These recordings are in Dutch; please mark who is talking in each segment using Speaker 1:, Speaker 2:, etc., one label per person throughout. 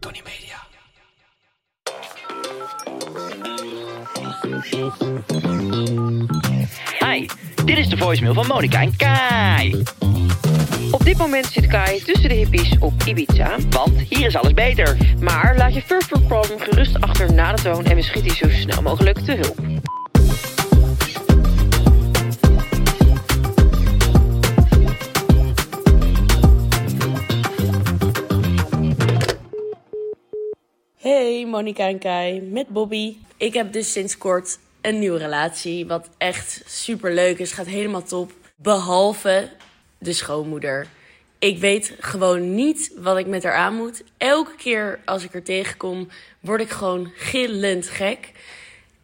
Speaker 1: Tony Media.
Speaker 2: Hi, dit is de voicemail van Monica en Kai.
Speaker 3: Op dit moment zit Kai tussen de hippies op Ibiza.
Speaker 2: Want hier is alles beter.
Speaker 3: Maar laat je first world problem gerust achter na de toon en we schieten je zo snel mogelijk te hulp.
Speaker 4: Hey Monika en Kai, met Bobby. Ik heb dus sinds kort een nieuwe relatie, wat echt super leuk is, gaat helemaal top. Behalve de schoonmoeder. Ik weet gewoon niet wat ik met haar aan moet. Elke keer als ik haar tegenkom, word ik gewoon gillend gek.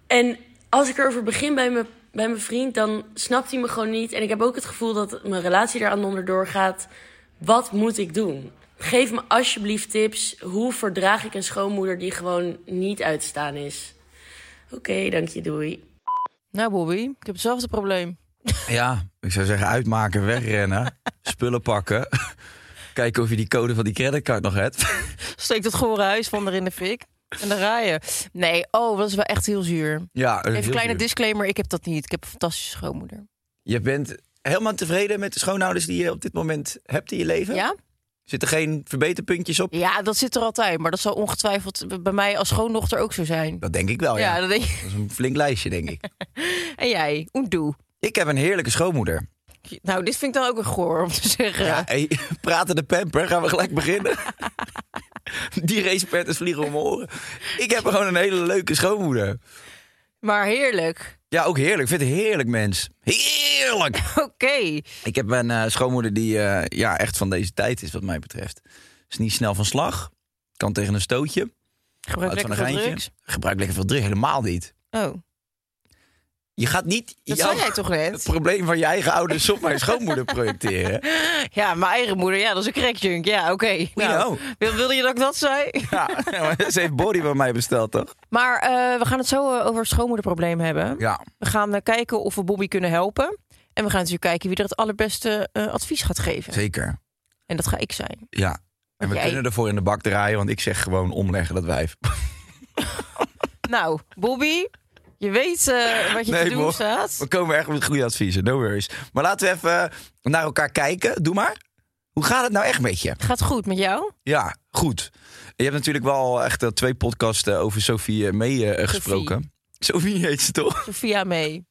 Speaker 4: En als ik erover begin bij mijn, bij mijn vriend, dan snapt hij me gewoon niet. En ik heb ook het gevoel dat mijn relatie eraan onderdoor gaat. Wat moet ik doen? Geef me alsjeblieft tips. Hoe verdraag ik een schoonmoeder die gewoon niet uitstaan is? Oké, dank je, doei.
Speaker 5: Nou, Bobby, ik heb hetzelfde probleem.
Speaker 1: Ja, Ah, ik zou zeggen uitmaken, wegrennen, spullen pakken. Kijken of je die code van die creditcard nog hebt.
Speaker 5: Steek dat gore huis van er in de fik. En dan rij je. Nee, oh, dat is wel echt heel zuur.
Speaker 1: Ja,
Speaker 5: Even een kleine
Speaker 1: disc.
Speaker 5: disclaimer, ik heb dat niet. Ik heb een fantastische schoonmoeder.
Speaker 1: Je bent helemaal tevreden met de schoonouders die je op dit moment hebt in je leven?
Speaker 5: Ja?
Speaker 1: Zitten geen verbeterpuntjes op?
Speaker 5: Ja, dat zit er altijd. Maar dat zal ongetwijfeld bij mij als schoondochter ook zo zijn.
Speaker 1: Dat denk ik wel, ja.
Speaker 5: Ja, dat denk ik.
Speaker 1: Dat is een flink lijstje, denk ik.
Speaker 5: En jij, Oendoe.
Speaker 1: Ik heb een heerlijke schoonmoeder.
Speaker 5: Nou, dit vind ik dan ook een goor om te zeggen.
Speaker 1: Ja, hey, praten de pamper. Gaan we gelijk beginnen? Die racepetters vliegen om mijn oren. Ik heb gewoon een hele leuke schoonmoeder.
Speaker 5: Maar heerlijk.
Speaker 1: Ja, ook heerlijk. Ik vind het heerlijk, mens. Heerlijk!
Speaker 5: Oké.
Speaker 1: Ik heb een eh, schoonmoeder die eh, ja, echt van deze tijd is, wat mij betreft. Is niet snel van slag. Kan tegen een stootje.
Speaker 5: Gebruik
Speaker 1: houdt
Speaker 5: lekker
Speaker 1: van een
Speaker 5: veel
Speaker 1: geintje.
Speaker 5: drugs.
Speaker 1: Gebruikt lekker veel drugs. Helemaal niet.
Speaker 5: Oh,
Speaker 1: Je gaat niet
Speaker 5: dat
Speaker 1: jouw-
Speaker 5: zei jij toch
Speaker 1: het
Speaker 5: net?
Speaker 1: probleem van je eigen ouders op mijn schoonmoeder projecteren.
Speaker 5: Ja, mijn eigen moeder. Ja, dat is een crackjunk. Ja, oké. Nou,
Speaker 1: know.
Speaker 5: wil- wilde je dat ik dat zei?
Speaker 1: Ja, maar ze heeft body bij mij besteld, toch?
Speaker 5: Maar eh, we gaan het zo eh, over het schoonmoederprobleem hebben.
Speaker 1: Ja.
Speaker 5: We gaan eh, kijken of we Bobby kunnen helpen. En we gaan natuurlijk kijken wie er het allerbeste eh, advies gaat geven.
Speaker 1: Zeker.
Speaker 5: En dat ga ik zijn.
Speaker 1: Ja. En we
Speaker 5: Jij-
Speaker 1: kunnen ervoor in de bak draaien, want ik zeg gewoon omleggen dat wijf.
Speaker 5: Nou, Bobby, je weet eh, wat je te doen
Speaker 1: Bo,
Speaker 5: staat.
Speaker 1: we komen echt met goede adviezen, no worries. Maar laten we even naar elkaar kijken. Doe maar. Hoe gaat het nou echt met je?
Speaker 5: Gaat goed met jou?
Speaker 1: Ja, goed. Je hebt natuurlijk wel echt eh, twee podcasten over Sophie eh, mee eh, gesproken. Sophie heet ze toch?
Speaker 5: Sophia mee.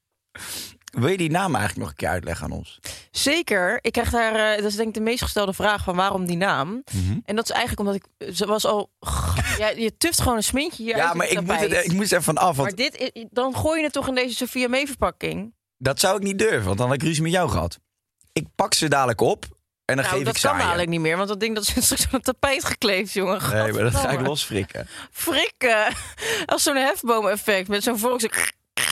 Speaker 1: Wil je die naam eigenlijk nog een keer uitleggen aan ons?
Speaker 5: Zeker. Ik krijg daar, eh, dat is denk ik de meest gestelde vraag van waarom die naam.
Speaker 1: Mhm.
Speaker 5: En dat is eigenlijk omdat ik, ze was al, ja, je tuft gewoon een smintje hier uit
Speaker 1: ja,
Speaker 5: je
Speaker 1: maar ik moet,
Speaker 5: tapijt.
Speaker 1: het, ik moest er van af, want
Speaker 5: Maar dit, is- dan gooi je het toch in deze Sophia mee verpakking?
Speaker 1: dat zou ik niet durven, want dan had ik ruzie met jou gehad. Ik pak ze dadelijk op en dan
Speaker 5: Nou,
Speaker 1: geef ik
Speaker 5: dat
Speaker 1: ze
Speaker 5: kan
Speaker 1: aan je.
Speaker 5: eigenlijk niet meer, want dat ding dat zit straks aan het tapijt gekleefd, jongen.
Speaker 1: Nee, maar dat ga ik
Speaker 5: Gadverdamme.
Speaker 1: losfrikken.
Speaker 5: Frikken. Als zo'n hefboom-effect met zo'n volks...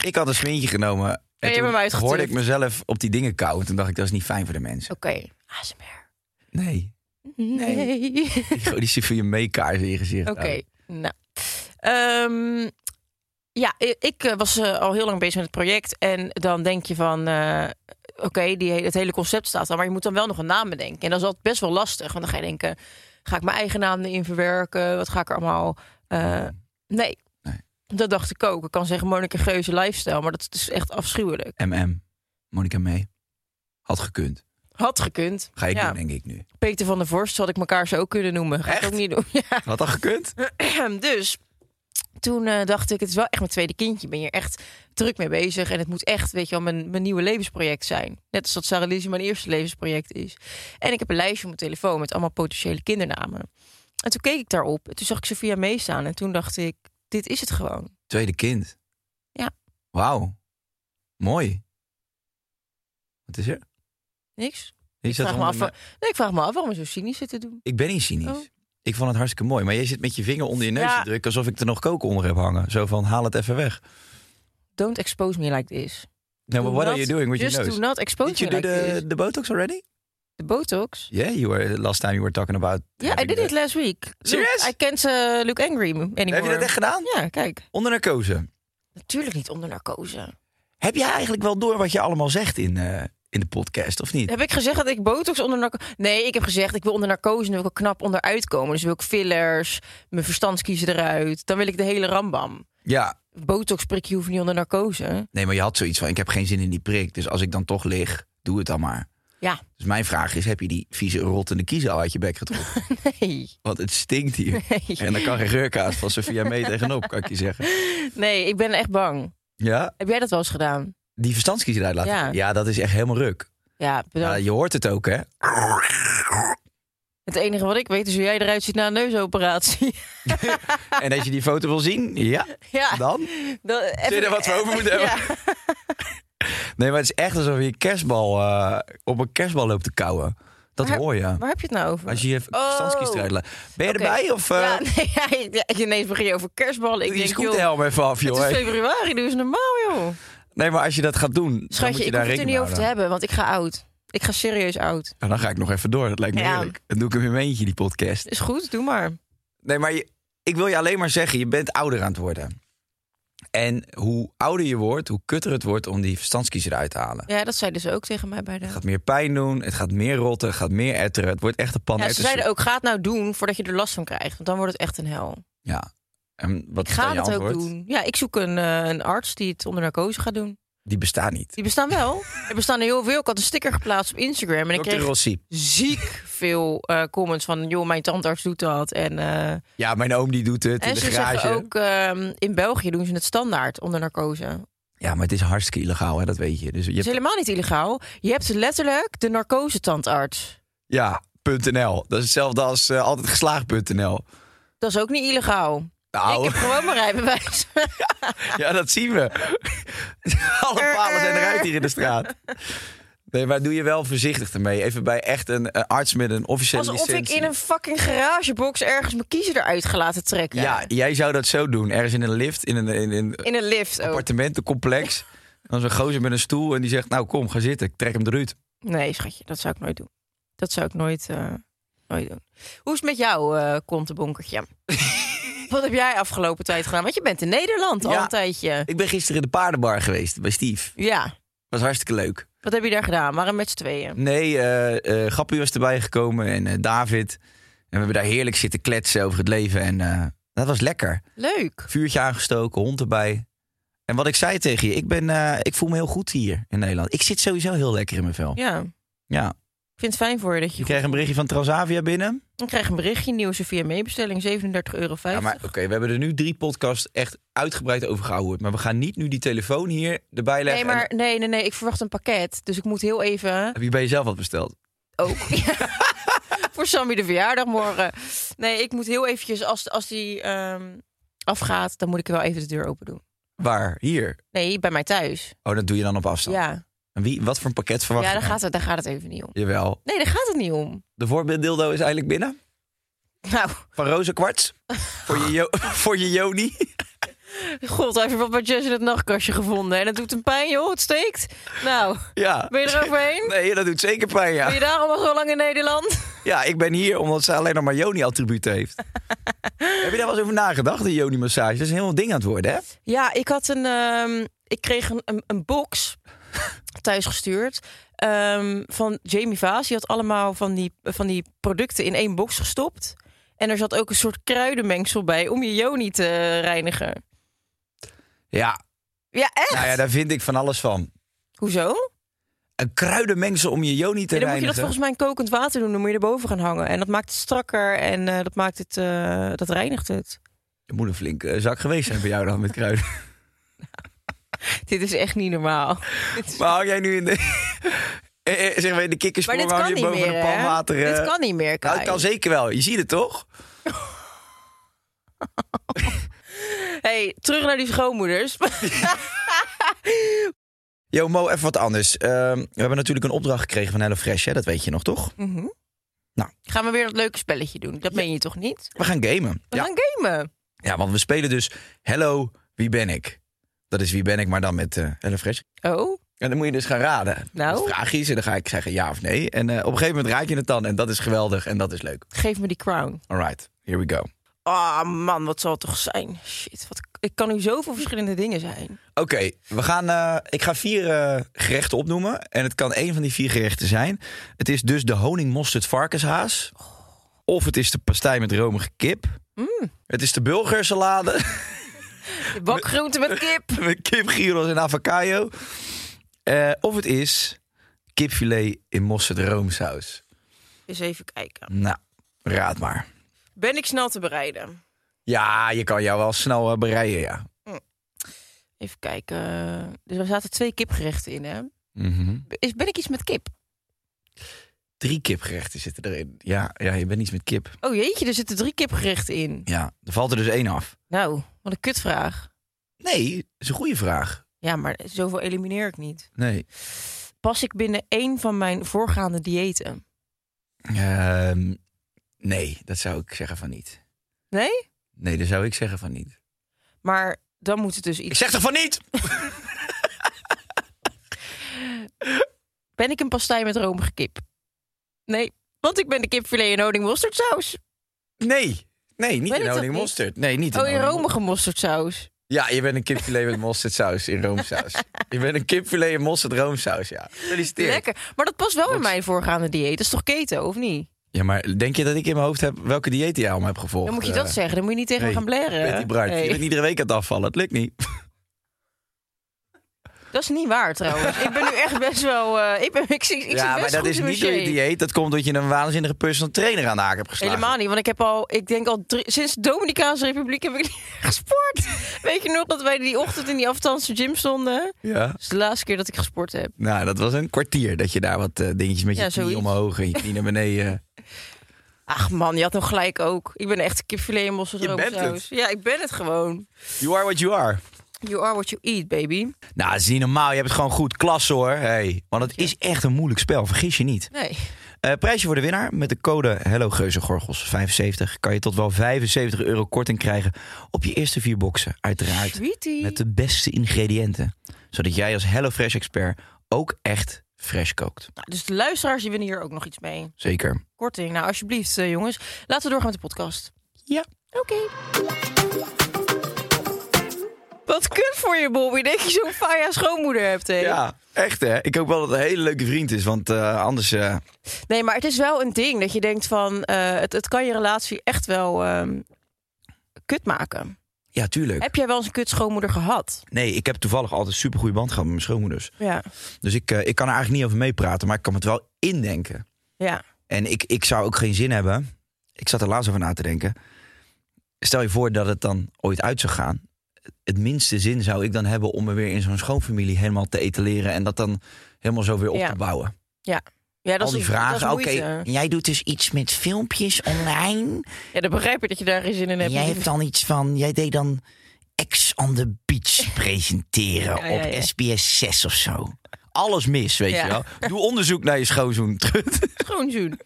Speaker 1: Ik had een smintje genomen. En
Speaker 5: je
Speaker 1: toen
Speaker 5: hebt hem uitgetuurd.
Speaker 1: hoorde ik mezelf op die dingen kauwen. Toen dacht ik, dat is niet fijn voor de mensen.
Speaker 5: Oké, ASMR.
Speaker 1: Nee.
Speaker 5: Nee.
Speaker 1: Die gooi die voor je meekaars in je gezicht.
Speaker 5: Oké, nou. Ehm, ja, i- ik eh, was eh, al heel lang bezig met het project. En dan denk je van... eh, Oké, die he- het hele concept staat al, maar je moet dan wel nog een naam bedenken. En dat is altijd best wel lastig, want dan ga je denken... Ga ik mijn eigen naam erin verwerken? Wat ga ik er allemaal... eh, nee.
Speaker 1: Nee.
Speaker 5: Dat dacht ik ook. Ik kan zeggen Monica dus Geuze lifestyle, maar dat is echt afschuwelijk.
Speaker 1: MM. Monica mee. Had gekund.
Speaker 5: Had gekund.
Speaker 1: Ga ik
Speaker 5: Ja.
Speaker 1: doen, denk ik nu.
Speaker 5: Peter van der Vorst had ik elkaar zo ook kunnen noemen. Ga ik
Speaker 1: Echt?
Speaker 5: ook niet doen. Ja.
Speaker 1: Had dat gekund?
Speaker 5: Dus toen eh, dacht ik, het is wel echt mijn tweede kindje. Ik ben hier echt druk mee bezig. En het moet echt, weet je wel, mijn, mijn nieuwe levensproject zijn. Net als dat Sarah Lizzie mijn eerste levensproject is. En ik heb een lijstje op mijn telefoon met allemaal potentiële kindernamen. En toen keek ik daarop. En toen zag ik Sophia meestaan. En toen dacht ik, dit is het gewoon.
Speaker 1: Tweede kind.
Speaker 5: Ja.
Speaker 1: Wauw. Mooi. Wat is er?
Speaker 5: Niks.
Speaker 1: Je
Speaker 5: Ik
Speaker 1: zat
Speaker 5: vraag, me
Speaker 1: onder
Speaker 5: af,
Speaker 1: mijn-
Speaker 5: nee, ik vraag me af waarom je zo cynisch zit te doen.
Speaker 1: Ik ben niet cynisch.
Speaker 5: Oh.
Speaker 1: Ik vond het hartstikke mooi. Maar jij zit met je vinger onder je neus
Speaker 5: Ja.
Speaker 1: te drukken... alsof ik er nog kook onder heb hangen. Zo van, haal het even weg.
Speaker 5: Don't expose me like this.
Speaker 1: No, but
Speaker 5: Do
Speaker 1: what
Speaker 5: not-
Speaker 1: are you doing with your
Speaker 5: Just
Speaker 1: nose?
Speaker 5: do not expose
Speaker 1: Did you
Speaker 5: me
Speaker 1: do
Speaker 5: like
Speaker 1: the,
Speaker 5: this.
Speaker 1: the Botox already?
Speaker 5: De botox?
Speaker 1: Yeah, you were, last time you were talking about...
Speaker 5: Ja, I
Speaker 1: having
Speaker 5: did
Speaker 1: the-
Speaker 5: it last week.
Speaker 1: Serious?
Speaker 5: Look, I can't eh, look angry anymore.
Speaker 1: Heb je dat echt gedaan?
Speaker 5: Ja, kijk.
Speaker 1: Onder narcose.
Speaker 5: Natuurlijk niet onder narcose.
Speaker 1: Heb jij eigenlijk wel door wat je allemaal zegt in, eh, in de podcast, of niet?
Speaker 5: Heb ik gezegd dat ik botox onder narcose... Nee, ik heb gezegd ik wil onder narcose en dan wil ik er knap onderuit komen. Dus wil ik fillers, mijn verstandskiezen eruit. Dan wil ik de hele rambam.
Speaker 1: Ja.
Speaker 5: Botox prikje hoeft niet onder narcose.
Speaker 1: Nee, maar je had zoiets van, ik heb geen zin in die prik. Dus als ik dan toch lig, doe het dan maar.
Speaker 5: Ja,
Speaker 1: Dus mijn vraag is, heb je die vieze rottende kiezen al uit je bek getrokken?
Speaker 5: nee.
Speaker 1: Want het stinkt hier.
Speaker 5: Nee.
Speaker 1: En dan kan geen geurkaas van Sophia mee tegenop, kan ik je zeggen.
Speaker 5: Nee, ik ben echt bang.
Speaker 1: Ja,
Speaker 5: Heb jij dat wel eens gedaan?
Speaker 1: die verstandskiezer eruit laten.
Speaker 5: Ja.
Speaker 1: Ja. dat is echt helemaal ruk.
Speaker 5: Ja, bedankt.
Speaker 1: Ja, je hoort het ook, hè?
Speaker 5: Het enige wat ik weet is hoe jij eruit ziet na een neusoperatie.
Speaker 1: En als je die foto wil zien, ja,
Speaker 5: ja,
Speaker 1: dan.
Speaker 5: dan even-
Speaker 1: Zul je er wat voor over moeten
Speaker 5: Ja.
Speaker 1: hebben? Nee, maar het is echt alsof je een kerstbal eh, op een kerstbal loopt te kauwen. Dat
Speaker 5: Waar-
Speaker 1: hoor je.
Speaker 5: Waar heb je het nou over?
Speaker 1: Als je je verstandskies eruit laat. Ben je
Speaker 5: Oké.
Speaker 1: erbij? Of eh
Speaker 5: Ja, nee, ja, ja, ineens begin je over kerstballen. Ik
Speaker 1: doe je
Speaker 5: denk, joh,
Speaker 1: scooterhelm even af, joh?
Speaker 5: het is
Speaker 1: hè?
Speaker 5: februari, doe eens normaal, joh.
Speaker 1: Nee, maar als je dat gaat doen, dan moet
Speaker 5: Schatje,
Speaker 1: je
Speaker 5: ik
Speaker 1: daar
Speaker 5: hoef het er
Speaker 1: rekening
Speaker 5: niet over te
Speaker 1: houden.
Speaker 5: hebben, want ik ga oud. Ik ga serieus oud.
Speaker 1: En dan ga ik nog even door. Dat lijkt me
Speaker 5: Ja.
Speaker 1: heerlijk. Dan doe ik hem in mijn eentje, die podcast.
Speaker 5: Is goed, doe maar.
Speaker 1: Nee, maar je- ik wil je alleen maar zeggen, je bent ouder aan het worden. En hoe ouder je wordt, hoe kutter het wordt om die verstandskiezer eruit te halen.
Speaker 5: Ja, dat zeiden ze ook tegen mij bij de...
Speaker 1: Het gaat meer pijn doen, het gaat meer rotten, het gaat meer etteren. Het wordt echt een pan
Speaker 5: Ja, ze
Speaker 1: erwtensoep.
Speaker 5: zeiden ook, ga het nou doen voordat je er last van krijgt. Want dan wordt het echt een hel.
Speaker 1: Ja. En wat
Speaker 5: Ik
Speaker 1: is dan
Speaker 5: ga
Speaker 1: je
Speaker 5: het ook
Speaker 1: antwoord?
Speaker 5: doen. Ja, ik zoek een, eh, een arts die het onder narcose gaat doen.
Speaker 1: Die bestaat niet.
Speaker 5: Die bestaan wel. er bestaan er heel veel. Ik had een sticker geplaatst op Instagram. En ik
Speaker 1: Dr.
Speaker 5: kreeg
Speaker 1: Rossi.
Speaker 5: ziek veel eh, comments van... joh, mijn tandarts doet dat. En, eh,
Speaker 1: Ja, mijn oom die doet het in
Speaker 5: en
Speaker 1: de
Speaker 5: ze
Speaker 1: garage.
Speaker 5: zeggen ook... ehm, in België doen ze het standaard onder narcose.
Speaker 1: Ja, maar het is hartstikke illegaal, hè? dat weet je. Dus je
Speaker 5: Dat is
Speaker 1: hebt...
Speaker 5: helemaal niet illegaal. Je hebt letterlijk de narcose-tandarts.
Speaker 1: Ja, .nl. Dat is hetzelfde als eh, altijd geslaagd.nl.
Speaker 5: Dat is ook niet illegaal.
Speaker 1: Nou,
Speaker 5: Ik heb gewoon mijn rijbewijs.
Speaker 1: ja, dat zien we. Alle palen zijn eruit hier in de straat. Nee, maar doe je wel voorzichtig ermee. Even bij echt een eh, arts met een officiële
Speaker 5: Alsof ik
Speaker 1: licentie.
Speaker 5: in een fucking garagebox ergens mijn kiezer eruit gelaten trekken.
Speaker 1: Ja, jij zou dat zo doen. Ergens in een lift, in een, in een
Speaker 5: In een lift ook.
Speaker 1: appartementencomplex. Dan zo'n gozer met een stoel en die zegt... nou, kom, ga zitten. Ik trek hem eruit.
Speaker 5: Nee, schatje, dat zou ik nooit doen. Dat zou ik nooit, eh, nooit doen. Hoe is het met jou, eh kontenbonkertje? Wat heb jij afgelopen tijd gedaan? Want je bent in Nederland al
Speaker 1: Ja.
Speaker 5: een tijdje.
Speaker 1: Ik ben gisteren in de paardenbar geweest bij Steve.
Speaker 5: Ja.
Speaker 1: Was hartstikke leuk.
Speaker 5: Wat heb je daar gedaan? Waren met z'n tweeën?
Speaker 1: Nee, eh eh Gappie was erbij gekomen en eh, David. En we hebben daar heerlijk zitten kletsen over het leven. En eh, dat was lekker.
Speaker 5: Leuk.
Speaker 1: Vuurtje aangestoken, hond erbij. En wat ik zei tegen je, ik, ben, eh, ik voel me heel goed hier in Nederland. Ik zit sowieso heel lekker in mijn vel.
Speaker 5: Ja.
Speaker 1: Ja.
Speaker 5: Ik vind het fijn voor je dat je
Speaker 1: Je kreeg een berichtje van Transavia binnen.
Speaker 5: Ik krijg een berichtje, nieuwe Sophia meebestelling, 37,50 euro.
Speaker 1: Ja, maar oké, we hebben er nu drie podcasts echt uitgebreid over gehouden. Maar we gaan niet nu die telefoon hier erbij
Speaker 5: nee,
Speaker 1: leggen.
Speaker 5: maar
Speaker 1: En-
Speaker 5: nee, nee, nee, ik verwacht een pakket. Dus ik moet heel even
Speaker 1: heb je bij jezelf wat besteld?
Speaker 5: ook.
Speaker 1: Oh.
Speaker 5: Ja. Voor Sammy de verjaardag morgen. Nee, ik moet heel eventjes, als, als die ehm, afgaat, dan moet ik wel even de deur open doen.
Speaker 1: Waar? Hier?
Speaker 5: Nee, bij mij thuis.
Speaker 1: Oh, dat doe je dan op afstand.
Speaker 5: Ja,
Speaker 1: En wie, wat voor een pakket verwacht
Speaker 5: ja
Speaker 1: je
Speaker 5: daar,
Speaker 1: dan?
Speaker 5: gaat het, daar gaat het even niet om.
Speaker 1: Jawel.
Speaker 5: Nee, daar gaat het niet om.
Speaker 1: De voorbeelddildo is eigenlijk binnen.
Speaker 5: Nou,
Speaker 1: Van roze kwarts. voor, je jo- voor je Joni.
Speaker 5: god, hij heeft wat bij Jess in het nachtkastje gevonden. En het doet een pijn, joh, het steekt. Nou,
Speaker 1: Ja.
Speaker 5: ben je er overheen?
Speaker 1: Nee, dat doet zeker pijn,
Speaker 5: Ben
Speaker 1: ja.
Speaker 5: je daarom al zo lang in Nederland?
Speaker 1: Ja, ik ben hier omdat ze alleen nog maar Joni-attributen heeft. Heb je daar wel eens over nagedacht, een Joni-massage? Dat is een heel ding aan het worden, hè?
Speaker 5: Ja, ik had een. ehm, ik kreeg een, een, een box thuisgestuurd. ehm, van Jamie Vaas. Die had allemaal van die, van die producten in één box gestopt. En er zat ook een soort kruidenmengsel bij om je joni te reinigen.
Speaker 1: Ja,
Speaker 5: Ja, echt?
Speaker 1: nou ja, daar vind ik van alles van.
Speaker 5: Hoezo?
Speaker 1: een kruidenmengsel om je joni te
Speaker 5: Ja, dan moet je dat
Speaker 1: reinigen.
Speaker 5: volgens mij in kokend water doen. Dan moet je erboven gaan hangen. En dat maakt het strakker en eh, dat, maakt het, eh, dat reinigt het.
Speaker 1: Dat moet een flinke eh, zak geweest zijn voor jou dan met kruiden.
Speaker 5: Dit is echt niet normaal. Dit is-
Speaker 1: Maar hou jij nu in de... eh, eh, zeg maar in de
Speaker 5: Maar
Speaker 1: kikkersprong
Speaker 5: dit
Speaker 1: hang
Speaker 5: kan
Speaker 1: je
Speaker 5: niet
Speaker 1: boven
Speaker 5: meer.
Speaker 1: een
Speaker 5: hè?
Speaker 1: pan water.
Speaker 5: Dit
Speaker 1: eh.
Speaker 5: kan niet meer.
Speaker 1: Nou, dat
Speaker 5: Kai.
Speaker 1: kan zeker wel. Je ziet het toch?
Speaker 5: Hey, terug naar die schoonmoeders.
Speaker 1: Yo Mo, even wat anders. Ehm, we hebben natuurlijk een opdracht gekregen van HelloFresh, hè? dat weet je nog toch?
Speaker 5: Mhm.
Speaker 1: Nou.
Speaker 5: Gaan we weer dat leuke spelletje doen? Dat meen je toch niet?
Speaker 1: We gaan gamen.
Speaker 5: We
Speaker 1: Ja.
Speaker 5: gaan gamen.
Speaker 1: ja, want we spelen dus Hello, wie ben ik? Dat is wie ben ik, maar dan met eh HelloFresh.
Speaker 5: Oh,
Speaker 1: En dan moet je dus gaan raden.
Speaker 5: Nou?
Speaker 1: Wat vraag is en dan ga ik zeggen ja of nee. En eh, op een gegeven moment raad je het dan en dat is geweldig en dat is leuk.
Speaker 5: geef me die crown.
Speaker 1: All right, here we go.
Speaker 5: Ah man, wat zal het toch zijn? Shit, wat, ik kan nu zoveel verschillende dingen zijn.
Speaker 1: Oké, we gaan. eh, ik ga vier eh, gerechten opnoemen. En het kan één van die vier gerechten zijn. Het is dus de honingmosterd varkenshaas. Of het is de pastei met romige kip. Het is de bulgersalade
Speaker 5: De bakgroente met kip.
Speaker 1: met kip, gyros en avocado. Eh, of het is kipfilet in mosterd roomsaus.
Speaker 5: Eens even kijken.
Speaker 1: Nou, raad maar.
Speaker 5: Ben ik snel te bereiden?
Speaker 1: Ja, je kan jou wel snel eh, bereiden, ja.
Speaker 5: Even kijken. Dus er zaten twee kipgerechten in, hè?
Speaker 1: Mhm.
Speaker 5: Is, ben ik iets met kip?
Speaker 1: Drie kipgerechten zitten erin. Ja, ja, je bent iets met kip.
Speaker 5: Oh jeetje, er zitten drie kipgerechten in.
Speaker 1: Ja, er valt er dus één af.
Speaker 5: Nou, wat een kutvraag.
Speaker 1: Nee, dat is een goede vraag.
Speaker 5: Ja, maar zoveel elimineer ik niet.
Speaker 1: Nee.
Speaker 5: Pas ik binnen één van mijn voorgaande diëten?
Speaker 1: Ehm, nee, dat zou ik zeggen van niet.
Speaker 5: Nee?
Speaker 1: Nee, daar zou ik zeggen van niet.
Speaker 5: Maar dan moet het dus
Speaker 1: Ik
Speaker 5: iets...
Speaker 1: zeg toch van niet?
Speaker 5: Ben ik een pastei met romige kip? Nee, want ik ben de kipfilet en honing mosterdsaus.
Speaker 1: Nee. Nee, niet
Speaker 5: Ben ik
Speaker 1: in
Speaker 5: dat
Speaker 1: honing
Speaker 5: niet?
Speaker 1: mosterd. Nee, niet in
Speaker 5: Oh, in
Speaker 1: honing-
Speaker 5: romige mosterdsaus.
Speaker 1: Ja, je bent een kipfilet met mosterdsaus in roomsaus. je bent een kipfilet in mosterd roomsaus, ja. Gefeliciteerd.
Speaker 5: Lekker. Maar dat past wel in
Speaker 1: Wat?
Speaker 5: mijn voorgaande dieet. Dat is toch keto, of niet?
Speaker 1: Ja, maar denk je dat ik in mijn hoofd heb welke dieet jij allemaal hebt gevolgd?
Speaker 5: Dan moet je dat
Speaker 1: Eh,
Speaker 5: zeggen. Dan moet je niet tegen
Speaker 1: nee,
Speaker 5: me gaan blaren.
Speaker 1: Betty Bruin,
Speaker 5: Nee.
Speaker 1: je bent iedere week aan het afvallen. Het lukt niet.
Speaker 5: Dat is niet waar trouwens. ik ben nu echt best wel. eh, ik ben, ik, zie- ik, zit
Speaker 1: ja,
Speaker 5: best
Speaker 1: maar dat
Speaker 5: goed
Speaker 1: is
Speaker 5: in mijn
Speaker 1: niet door je
Speaker 5: shape.
Speaker 1: dieet. Dat komt doordat je een waanzinnige personal trainer aan de haak hebt geslagen.
Speaker 5: Helemaal niet, want ik heb al, ik denk al drie- sinds de Dominicaanse Republiek heb ik niet gesport. Weet je nog dat wij die ochtend in die afstandse gym stonden? Dat
Speaker 1: Ja.
Speaker 5: is de laatste keer dat ik gesport heb.
Speaker 1: Nou, dat was een kwartier dat je daar wat eh, dingetjes met je
Speaker 5: Ja,
Speaker 1: knie
Speaker 5: zoiets.
Speaker 1: omhoog en je knie naar beneden.
Speaker 5: Ach man, je had nog gelijk ook. Ik ben echt een kipfilet en mosterd
Speaker 1: Je bent
Speaker 5: roomsaus. Ja, ik ben het gewoon.
Speaker 1: You are what you are.
Speaker 5: You are what you eat, baby.
Speaker 1: Nou, dat is niet normaal. Je hebt het gewoon goed. Klasse hoor. Hey. Want het is echt een moeilijk spel. Vergis je niet.
Speaker 5: Nee.
Speaker 1: Eh, prijsje voor de winnaar. Met de code HelloGeuzenGorgels75 kan je tot wel 75 euro korting krijgen op je eerste vier boxen. Uiteraard
Speaker 5: Sweetie.
Speaker 1: met de beste ingrediënten. Zodat jij als HelloFresh expert ook echt fresh kookt.
Speaker 5: Nou, dus de luisteraars die winnen hier ook nog iets mee.
Speaker 1: Zeker.
Speaker 5: Korting. Nou, alsjeblieft, eh, jongens. Laten we doorgaan met de podcast.
Speaker 1: Ja.
Speaker 5: Oké. Wat kut voor je, Bobby. Dat je zo'n faya schoonmoeder hebt, hè?
Speaker 1: Ja, echt hè. Ik hoop wel dat het een hele leuke vriend is. Want eh, anders... eh,
Speaker 5: Nee, maar het is wel een ding dat je denkt van... eh, het, het kan je relatie echt wel ehm, kut maken.
Speaker 1: ja, tuurlijk.
Speaker 5: Heb jij wel eens een kut schoonmoeder gehad?
Speaker 1: Nee, ik heb toevallig altijd een supergoeie band gehad met mijn schoonmoeders.
Speaker 5: Ja.
Speaker 1: Dus ik, eh, ik kan er eigenlijk niet over meepraten, maar ik kan het wel indenken.
Speaker 5: Ja.
Speaker 1: En ik, ik zou ook geen zin hebben. Ik zat er laatst over na te denken. Stel je voor dat het dan ooit uit zou gaan. Het minste zin zou ik dan hebben om me weer in zo'n schoonfamilie helemaal te etaleren. En dat dan helemaal zo weer op
Speaker 5: Ja.
Speaker 1: te bouwen.
Speaker 5: ja dat
Speaker 1: Al die
Speaker 5: is,
Speaker 1: vragen.
Speaker 5: dat
Speaker 1: Oké,
Speaker 5: is moeite.
Speaker 1: jij doet dus iets met filmpjes online.
Speaker 5: Ja, dan begrijp ik dat je daar geen zin in
Speaker 1: En
Speaker 5: hebt.
Speaker 1: jij hebt dan iets van, jij deed dan Ex on the Beach presenteren
Speaker 5: Ja, ja, ja.
Speaker 1: op SBS 6 of zo. Alles mis, weet
Speaker 5: Ja.
Speaker 1: je wel. Doe onderzoek naar je schoonzoen.
Speaker 5: Schoonzoen.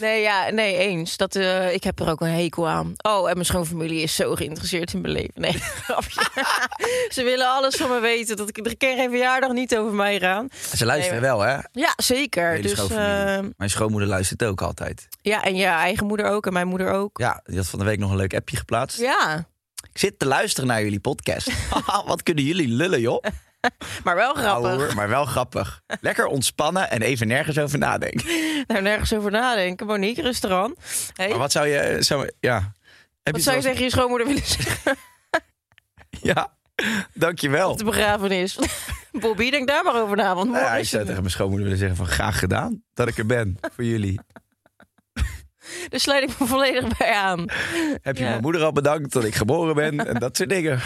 Speaker 5: Nee, ja, nee, eens. Dat, eh, ik heb er ook een hekel aan. Oh, en mijn schoonfamilie is zo geïnteresseerd in mijn leven. Nee, grapje. Ze willen alles van me weten. Dat ik, er kan geen verjaardag niet over mij gaan.
Speaker 1: Ze luisteren wel, hè?
Speaker 5: Ja, zeker.
Speaker 1: Hele
Speaker 5: Dus,
Speaker 1: schoonfamilie.
Speaker 5: eh,
Speaker 1: Mijn schoonmoeder luistert ook altijd.
Speaker 5: ja, en je eigen moeder ook en mijn moeder ook.
Speaker 1: Ja, die had van de week nog een leuk appje geplaatst.
Speaker 5: Ja,
Speaker 1: Ik zit te luisteren naar jullie podcast. Haha, Wat kunnen jullie lullen, joh?
Speaker 5: maar wel
Speaker 1: Nou,
Speaker 5: grappig.
Speaker 1: Ouwe hoer, maar wel grappig. Lekker ontspannen en even nergens over nadenken.
Speaker 5: Daar Nou, nergens over nadenken. Monique, rustig aan. Hey,
Speaker 1: Maar
Speaker 5: wat
Speaker 1: wat zou je... Zou, ja.
Speaker 5: zou
Speaker 1: Heb
Speaker 5: je
Speaker 1: zoals-
Speaker 5: tegen je schoonmoeder willen zeggen
Speaker 1: Ja, dankjewel.
Speaker 5: op de begrafenis? Bobby, denk daar maar over na. Want morgen
Speaker 1: Ja, ik
Speaker 5: is
Speaker 1: zou
Speaker 5: het
Speaker 1: tegen mijn schoonmoeder willen zeggen van graag gedaan dat ik er ben voor jullie.
Speaker 5: niet. Dus sluit ik me volledig bij aan.
Speaker 1: Heb je
Speaker 5: Ja.
Speaker 1: mijn moeder al bedankt dat ik geboren ben en dat soort dingen.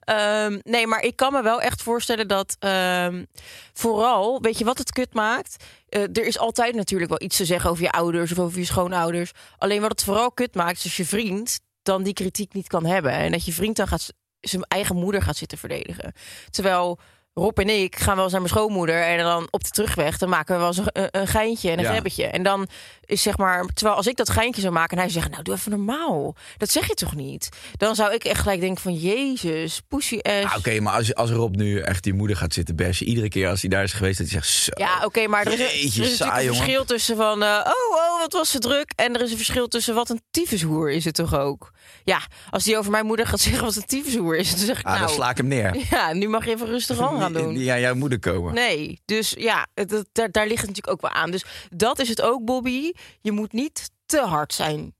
Speaker 5: Ehm, nee, maar ik kan me wel echt voorstellen dat ehm, vooral, weet je wat het kut maakt? Eh, er is altijd natuurlijk wel iets te zeggen over je ouders of over je schoonouders. Alleen wat het vooral kut maakt, is als je vriend dan die kritiek niet kan hebben. En dat je vriend dan gaat, z- zijn eigen moeder gaat zitten verdedigen. Terwijl Rob en ik gaan wel eens naar mijn schoonmoeder en dan op de terugweg, dan maken we wel eens een, een- een geintje en een
Speaker 1: Ja.
Speaker 5: greppetje. En dan is zeg maar, terwijl als ik dat geintje zou maken en hij zegt, nou doe even normaal, dat zeg je toch niet? Dan zou ik echt gelijk denken van, jezus, pussy ass.
Speaker 1: Ah, Oké, maar als, als Rob nu echt die moeder gaat zitten bashen, iedere keer als hij daar is geweest, dat hij zegt zo.
Speaker 5: Ja, oké, maar er is, er is
Speaker 1: Jeetje,
Speaker 5: natuurlijk
Speaker 1: saai,
Speaker 5: een
Speaker 1: jongen.
Speaker 5: verschil tussen van... eh, oh, oh, wat was ze druk. En er is een verschil tussen wat een tyfushoer is het toch ook. Ja, als die over mijn moeder gaat zeggen wat een tyfushoer is... dan zeg ik
Speaker 1: Ah, dan
Speaker 5: nou...
Speaker 1: sla ik hem neer.
Speaker 5: Ja, nu mag je even rustig aan gaan
Speaker 1: Die-
Speaker 5: doen.
Speaker 1: Die aan jouw moeder komen.
Speaker 5: Nee, dus ja, het- het- daar, daar ligt het natuurlijk ook wel aan. Dus dat is het ook, Bobby. Je moet niet te hard zijn.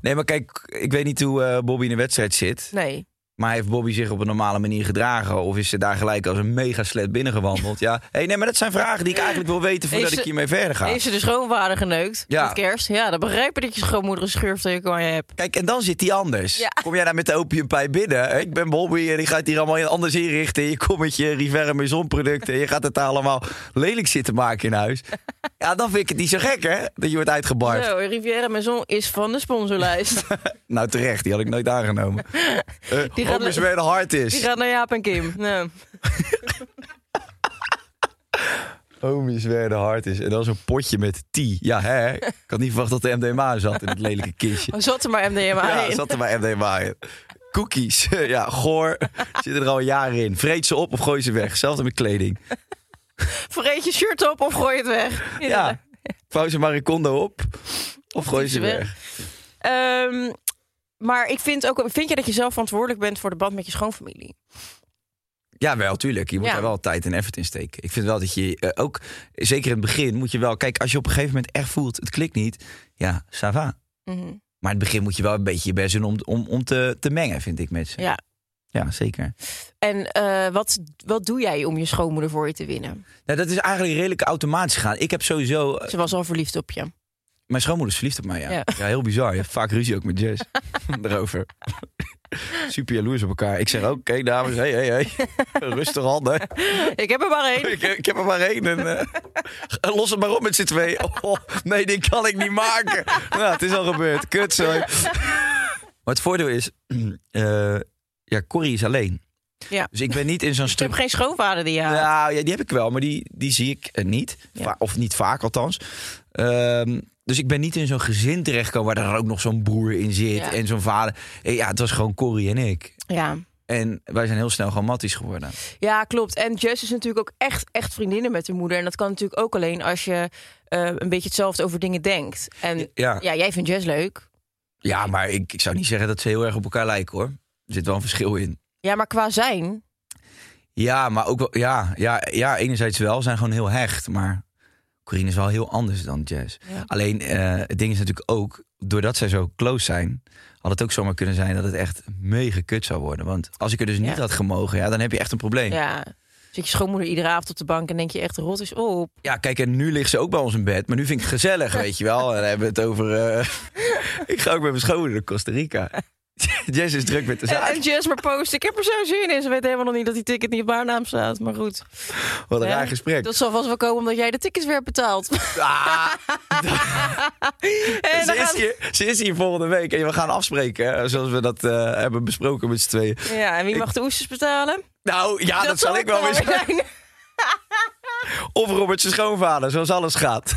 Speaker 1: Nee, maar kijk, ik weet niet hoe eh, Bobby in de wedstrijd zit.
Speaker 5: Nee.
Speaker 1: Maar heeft Bobby zich op een normale manier gedragen? Of is ze daar gelijk als een mega slet binnengewandeld? Ja, hey, nee, maar dat zijn vragen die ik eigenlijk wil weten voordat
Speaker 5: Heeft
Speaker 1: ik
Speaker 5: ze-
Speaker 1: hiermee verder ga.
Speaker 5: Heeft ze de schoonvader geneukt
Speaker 1: Ja.
Speaker 5: met kerst? Ja, dan begrijp ik dat je schoonmoeder een schurftekel aan je hebt.
Speaker 1: Kijk, en dan zit hij anders.
Speaker 5: Ja.
Speaker 1: Kom jij daar met de opiumpijp binnen? Ik ben Bobby en die gaat hier allemaal anders inrichten. Je kommetje, Rivera Maison producten. Je gaat het daar allemaal lelijk zitten maken in huis. Ja, dan vind ik het niet zo gek, hè? Dat je wordt uitgebarst.
Speaker 5: Zo, Riviera Maison is van de sponsorlijst.
Speaker 1: Nou, terecht. Die had ik nooit aangenomen. Eh
Speaker 5: Die
Speaker 1: die
Speaker 5: gaat-
Speaker 1: eens weer de hard
Speaker 5: Die
Speaker 1: is.
Speaker 5: gaat naar Jaap en Kim. Nou.
Speaker 1: Homies weer de hard is. En dan zo'n potje met tea. Ja, hè? Ik had niet verwacht dat de MDMA zat in het lelijke kistje.
Speaker 5: Oh, Zat er maar MDMA
Speaker 1: Ja,
Speaker 5: in.
Speaker 1: zat er bij MDMA in. Cookies, ja, goor. Zitten er al jaren in. Vreet ze op of gooi ze weg. Hetzelfde met kleding.
Speaker 5: Vreet je shirt op of gooi het weg.
Speaker 1: Ja. Vouw ze maar een condo op. Of gooi
Speaker 5: doe
Speaker 1: ze
Speaker 5: ze weg.
Speaker 1: weg.
Speaker 5: Ehm, maar ik vind ook, vind je dat je zelf verantwoordelijk bent voor de band met je schoonfamilie?
Speaker 1: Ja, wel, tuurlijk. Je moet
Speaker 5: Ja.
Speaker 1: daar wel tijd en effort in steken. Ik vind wel dat je eh, ook, zeker in het begin, moet je wel... Kijk, als je op een gegeven moment echt voelt, het klikt niet. Ja, ça va. Maar in het begin moet je wel een beetje je best doen om, om, om te, te mengen, vind ik, met ze.
Speaker 5: Ja.
Speaker 1: Ja, zeker.
Speaker 5: En eh, wat, wat doe jij om je schoonmoeder voor je te winnen?
Speaker 1: Nou, dat is eigenlijk redelijk automatisch gegaan. Ik heb sowieso... eh,
Speaker 5: Ze was al verliefd op je.
Speaker 1: Mijn schoonmoeder is verliefd op mij, ja.
Speaker 5: Ja.
Speaker 1: Ja, heel bizar. Je hebt vaak ruzie ook met Jess. Daarover. Super jaloers op elkaar. Ik zeg ook, oké dames, hey, hey, hey. Rustig handen.
Speaker 5: Ik heb er maar één.
Speaker 1: Ik, ik heb er maar één. En, eh, los het maar op met z'n twee. Oh, nee, die kan ik niet maken. Nou, het is al gebeurd. Kut, sorry. Maar het voordeel is, eh, ja, Corrie is alleen.
Speaker 5: Ja.
Speaker 1: Dus ik ben niet in zo'n
Speaker 5: Ik heb
Speaker 1: stuk
Speaker 5: geen schoonvader die eh, ja.
Speaker 1: nou, ja, die heb ik wel, maar die, die zie ik eh, niet.
Speaker 5: Ja.
Speaker 1: Va- Of niet vaak althans. Ehm, dus ik ben niet in zo'n gezin terechtgekomen waar er ook nog zo'n broer in zit
Speaker 5: Ja.
Speaker 1: en zo'n vader. Eh, Ja, het was gewoon Corrie en ik.
Speaker 5: ja.
Speaker 1: En wij zijn heel snel gewoon matties geworden.
Speaker 5: Ja, klopt. En Jess is natuurlijk ook echt, echt vriendinnen met haar moeder. En dat kan natuurlijk ook alleen als je eh, een beetje hetzelfde over dingen denkt. En
Speaker 1: Ja,
Speaker 5: ja, jij vindt Jess leuk.
Speaker 1: ja maar ik, ik zou niet zeggen dat ze heel erg op elkaar lijken hoor. Er zit wel een verschil in.
Speaker 5: Ja, maar qua zijn
Speaker 1: Ja, maar ook wel. Ja, ja, ja enerzijds wel. ze zijn gewoon heel hecht. Maar Corine is wel heel anders dan Jess.
Speaker 5: Ja.
Speaker 1: Alleen eh, het ding is natuurlijk ook. Doordat zij zo close zijn. had het ook zomaar kunnen zijn dat het echt mega kut zou worden. Want als ik er dus niet
Speaker 5: Ja.
Speaker 1: had gemogen. Ja, dan heb je echt een probleem. Ja.
Speaker 5: Ja. Zit je schoonmoeder iedere avond op de bank en denk je echt rot is op.
Speaker 1: kijk, en nu ligt ze ook bij ons in bed. Maar nu vind ik het gezellig, weet je wel. En dan hebben we het over. eh, ik ga ook met mijn schoonmoeder naar Costa Rica. Jess is druk met de
Speaker 5: En,
Speaker 1: zaak.
Speaker 5: en Jess maar post, ik heb er zo zin in. Ze weet helemaal nog niet dat die ticket niet op haar naam staat. Maar goed,
Speaker 1: Wat een
Speaker 5: hè?
Speaker 1: raar gesprek.
Speaker 5: dat zal vast wel komen omdat jij de tickets weer betaalt.
Speaker 1: Ah.
Speaker 5: en
Speaker 1: ze,
Speaker 5: dan
Speaker 1: is
Speaker 5: gaat-
Speaker 1: hier, ze is hier volgende week en we gaan afspreken, hè, zoals we dat eh, hebben besproken met z'n tweeën.
Speaker 5: Ja, en wie mag de oesters betalen?
Speaker 1: Nou ja, dat, zal
Speaker 5: zal
Speaker 1: ik wel weer
Speaker 5: weer
Speaker 1: zeggen.
Speaker 5: zijn.
Speaker 1: Of Robert zijn schoonvader, zoals alles gaat.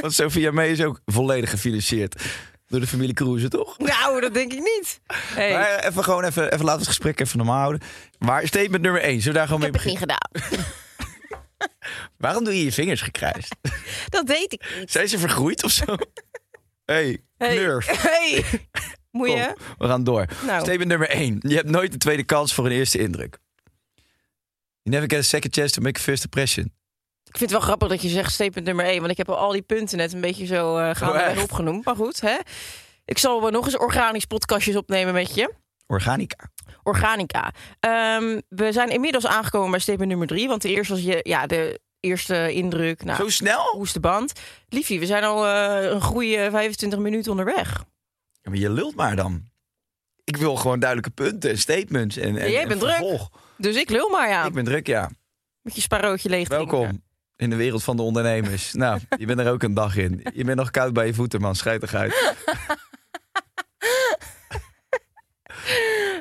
Speaker 1: Want Sophia May is ook volledig gefinancierd door de familie Cruise, toch?
Speaker 5: Nou, dat denk ik niet. Hey,
Speaker 1: Maar eh, even gewoon even, even laten we het gesprek even normaal houden. Maar statement nummer 1, zullen we daar gewoon
Speaker 5: ik
Speaker 1: mee
Speaker 5: heb het niet
Speaker 1: beginnen?
Speaker 5: gedaan.
Speaker 1: Waarom doe je je vingers gekrijsd?
Speaker 5: Dat deed ik niet.
Speaker 1: Zijn ze vergroeid of zo? hey,
Speaker 5: Hey.
Speaker 1: knurf.
Speaker 5: Hey. Moet
Speaker 1: Kom,
Speaker 5: je?
Speaker 1: we gaan door.
Speaker 5: Nou.
Speaker 1: Statement nummer 1. Je hebt nooit een tweede kans voor een eerste indruk. You never get a second chance to make a first impression.
Speaker 5: Ik vind het wel grappig dat je zegt statement nummer 1. Want ik heb al die punten net een beetje zo eh
Speaker 1: Oh,
Speaker 5: gaandeweg
Speaker 1: echt?
Speaker 5: opgenoemd. Maar goed, hè? Ik zal wel nog eens organisch podcastjes opnemen met je.
Speaker 1: Organica.
Speaker 5: Organica. Ehm, we zijn inmiddels aangekomen bij stip nummer drie. Want de eerste was je, ja, de eerste indruk. Nou,
Speaker 1: Zo snel?
Speaker 5: hoe is de band? Liefie, we zijn al eh, een goede 25 minuten onderweg.
Speaker 1: Ja, maar je lult maar dan. Ik wil gewoon duidelijke punten en statements. En, en,
Speaker 5: jij
Speaker 1: en
Speaker 5: bent druk.
Speaker 1: vervolg.
Speaker 5: Dus ik lul maar ja.
Speaker 1: Ik ben druk, ja.
Speaker 5: Met je sparootje leeg drinken.
Speaker 1: Welkom in de wereld van de ondernemers. nou, je bent er ook een dag in. Je bent nog koud bij je voeten, man. Schijt eruit.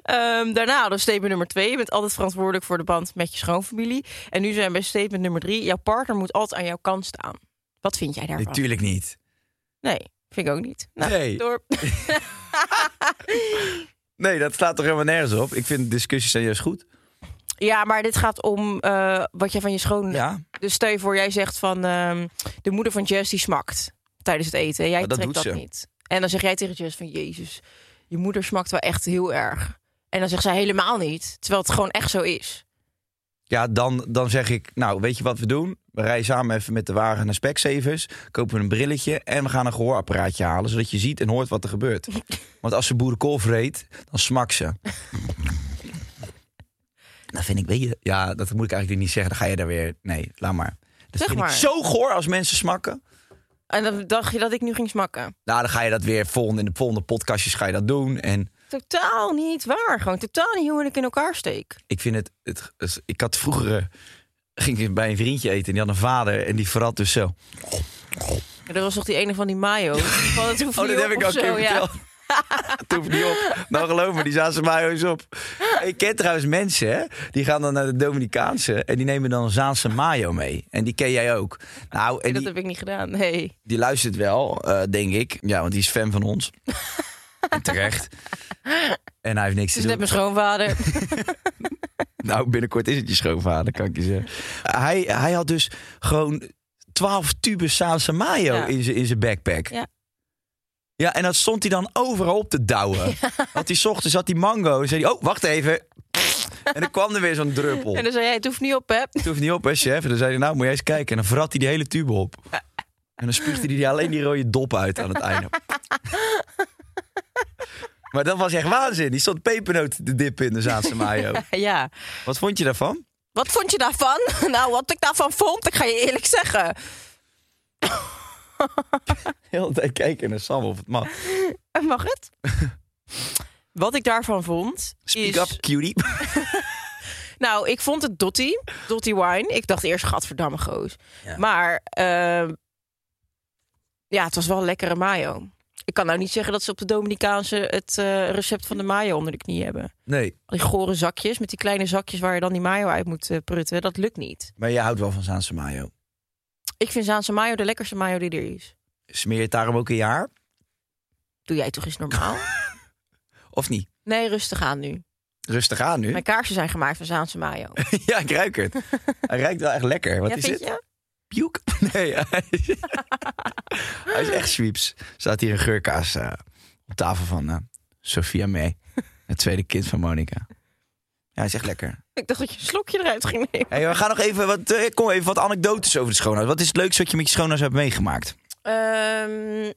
Speaker 5: Ehm, daarna, dus statement nummer twee. Je bent altijd verantwoordelijk voor de band met je schoonfamilie. En nu zijn we bij statement nummer drie. Jouw partner moet altijd aan jouw kant staan. Wat vind jij daarvan?
Speaker 1: Natuurlijk niet.
Speaker 5: Nee, vind ik ook niet. Nou,
Speaker 1: Nee.
Speaker 5: door.
Speaker 1: Nee, dat staat toch helemaal nergens op. Ik vind discussies zijn juist goed.
Speaker 5: Ja, maar dit gaat om eh, wat jij van je schoon...
Speaker 1: Ja,
Speaker 5: Dus stel je voor, jij zegt van... ehm, de moeder van Jess die smakt tijdens het eten. En jij
Speaker 1: Maar dat
Speaker 5: trekt
Speaker 1: doet
Speaker 5: dat
Speaker 1: ze.
Speaker 5: niet. En dan zeg jij tegen Jess van... Jezus, je moeder smakt wel echt heel erg. En dan zegt zij helemaal niet. Terwijl het gewoon echt zo is.
Speaker 1: ja dan, dan zeg ik, nou, weet je wat we doen? We rijden samen even met de wagen naar Specsavers, kopen een brilletje en we gaan een gehoorapparaatje halen, zodat je ziet en hoort wat er gebeurt. Want als ze boerenkool vreet, dan smak ze. Dat vind ik, weet je, ja, dat moet ik eigenlijk niet zeggen. Dan ga je daar weer, nee, laat maar. Dat
Speaker 5: Zeg
Speaker 1: vind
Speaker 5: maar.
Speaker 1: ik zo goor als mensen smakken.
Speaker 5: En dan dacht je dat ik nu ging smakken.
Speaker 1: Nou, dan ga je dat weer volgende, in de volgende podcastjes ga je dat doen. En
Speaker 5: Totaal niet waar. Gewoon totaal niet hoe ik in elkaar steek.
Speaker 1: ik vind het, het, het- ik had vroeger, eh, ging ik bij een vriendje eten en die had een vader en die verrat dus zo.
Speaker 5: Ja, Er was toch die ene van die mayo? Van het hoeft
Speaker 1: Oh,
Speaker 5: niet
Speaker 1: dat heb
Speaker 5: op
Speaker 1: ik
Speaker 5: of
Speaker 1: ook een
Speaker 5: zo,
Speaker 1: keer
Speaker 5: ja.
Speaker 1: verteld. Het hoeft niet op. Nou, geloof me, die zaten mij eens op. Ik ken trouwens mensen, hè? die gaan dan naar de Dominicaanse en die nemen dan Zaanse mayo mee. En die ken jij ook. Nou, en
Speaker 5: Dat
Speaker 1: die,
Speaker 5: heb ik niet gedaan. Nee.
Speaker 1: die luistert wel, eh, denk ik. Ja, want die is fan van ons. En terecht. En hij heeft niks
Speaker 5: Het
Speaker 1: te
Speaker 5: is net
Speaker 1: doen.
Speaker 5: mijn schoonvader.
Speaker 1: Nou, binnenkort is het je schoonvader, kan ik je zeggen. Hij, hij had dus gewoon 12 tubes Saanse mayo
Speaker 5: Ja.
Speaker 1: in zijn in zijn backpack.
Speaker 5: Ja.
Speaker 1: Ja, en dat stond hij dan overal op te douwen. Want die 's ochtends had die mango. En zei hij, oh, wacht even. En dan kwam er weer zo'n druppel.
Speaker 5: En
Speaker 1: Het
Speaker 5: dan zei jij, het hoeft niet op, hè?
Speaker 1: hoeft niet op, hè, chef. En dan zei hij, nou, moet jij eens kijken. En dan vrat hij die hele tube op. En dan spuugde hij die- alleen die rode dop uit aan het einde. Maar dat was echt waanzin. Die stond pepernoot te dippen in de Zaanse mayo.
Speaker 5: Ja.
Speaker 1: Wat vond je daarvan?
Speaker 5: Wat vond je daarvan? Nou, wat ik daarvan vond, ik ga je eerlijk zeggen.
Speaker 1: Heel de tijd kijken naar Sam of het mag.
Speaker 5: Eh, Mag het? Wat ik daarvan vond is...
Speaker 1: Speak up, cutie.
Speaker 5: Nou, ik vond het Dottie. Dottie Wine. Ik dacht eerst, gadverdamme goos. Maar ehm, ja, het was wel een lekkere mayo. Ik kan nou niet zeggen dat ze op de Dominicaanse het eh, recept van de mayo onder de knie hebben.
Speaker 1: Nee,
Speaker 5: Al die gore zakjes, met die kleine zakjes waar je dan die mayo uit moet eh, prutten. Dat lukt niet.
Speaker 1: maar je houdt wel van Zaanse mayo.
Speaker 5: Ik vind Zaanse mayo de lekkerste mayo die er is.
Speaker 1: Smeer je het daarom ook in je haar?
Speaker 5: Doe jij toch eens normaal?
Speaker 1: Of niet?
Speaker 5: Nee, rustig aan nu.
Speaker 1: Rustig aan nu.
Speaker 5: Mijn kaarsen zijn gemaakt van Zaanse mayo.
Speaker 1: ja, ik ruik het. Hij ruikt wel echt lekker. Wat
Speaker 5: ja,
Speaker 1: is
Speaker 5: vind
Speaker 1: het?
Speaker 5: je?
Speaker 1: Pioek? Nee, hij is, hij is echt sweeps. Er staat hier een geurkaas eh, op tafel van eh, Sophia May. Het tweede kind van Monica. Ja, hij is echt lekker.
Speaker 5: Ik dacht dat je een slokje eruit ging nemen.
Speaker 1: Hey, we gaan nog even wat, eh, kom even wat anekdotes over de schoonhuis. Wat is het leukste wat je met je schoonhuis hebt meegemaakt?
Speaker 5: Ehm,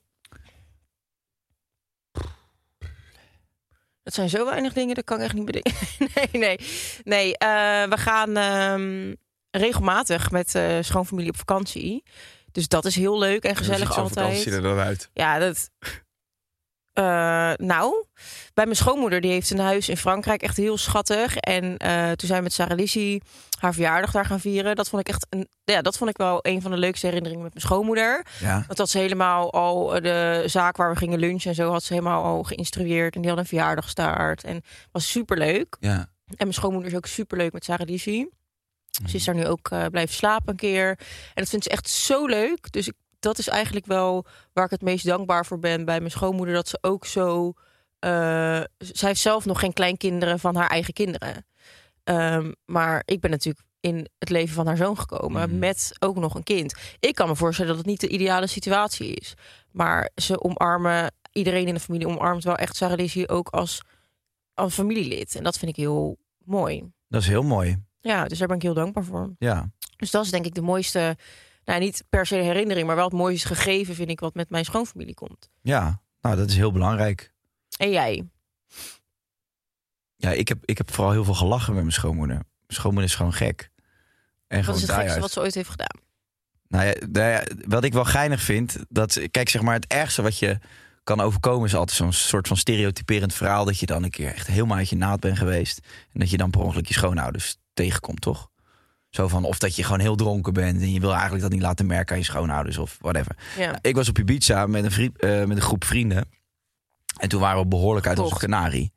Speaker 5: dat zijn zo weinig dingen, dat kan ik echt niet bedenken. nee, nee. Nee, eh, we gaan ehm, regelmatig met eh, schoonfamilie op vakantie. Dus dat is heel leuk en gezellig altijd.
Speaker 1: dan uit.
Speaker 5: Ja, dat. Eh, nou, bij mijn schoonmoeder, die heeft een huis in Frankrijk, echt heel schattig. En eh, toen zijn we met Sarah Lizzie haar verjaardag daar gaan vieren. Dat vond ik echt een, ja, dat vond ik wel een van de leukste herinneringen met mijn schoonmoeder.
Speaker 1: Ja.
Speaker 5: Want dat ze helemaal al eh, de zaak waar we gingen lunchen en zo had ze helemaal al geïnstrueerd. En die had een verjaardagstaart. En was super leuk.
Speaker 1: Ja.
Speaker 5: En mijn schoonmoeder is ook super leuk met Sarah Lizzie. Ze is daar nu ook eh, blijven slapen een keer. En dat vindt ze echt zo leuk. Dus ik, dat is eigenlijk wel waar ik het meest dankbaar voor ben bij mijn schoonmoeder. Dat ze ook zo. eh, z- zij heeft zelf nog geen kleinkinderen van haar eigen kinderen. Ehm, maar ik ben natuurlijk in het leven van haar zoon gekomen met ook nog een kind. Ik kan me voorstellen dat het niet de ideale situatie is. Maar ze omarmen, iedereen in de familie omarmt wel echt Sarah Lizzie ook als, als familielid. En dat vind ik heel mooi.
Speaker 1: Dat is heel mooi.
Speaker 5: Ja, dus daar ben ik heel dankbaar voor.
Speaker 1: Ja.
Speaker 5: Dus dat is denk ik de mooiste, nou niet per se herinnering, maar wel het mooiste gegeven vind ik wat met mijn schoonfamilie komt.
Speaker 1: Ja, nou dat is heel belangrijk.
Speaker 5: En jij?
Speaker 1: Ja, ik heb, ik heb vooral heel veel gelachen met mijn schoonmoeder. Mijn schoonmoeder is gewoon gek. En
Speaker 5: Wat
Speaker 1: gewoon
Speaker 5: is het
Speaker 1: daaruit.
Speaker 5: gekste wat ze ooit heeft gedaan?
Speaker 1: Nou ja, nou ja, wat ik wel geinig vind, dat kijk zeg maar het ergste wat je kan overkomen is altijd zo'n soort van stereotyperend verhaal dat je dan een keer echt helemaal uit je naad bent geweest en dat je dan per ongeluk je schoonouders tegenkomt, toch? Zo van of dat je gewoon heel dronken bent en je wil eigenlijk dat niet laten merken aan je schoonouders of whatever.
Speaker 5: Ja.
Speaker 1: Nou, ik was op Ibiza met een, vriend, eh, met een groep vrienden en toen waren we behoorlijk uit onze
Speaker 5: Gekocht.
Speaker 1: kanarie.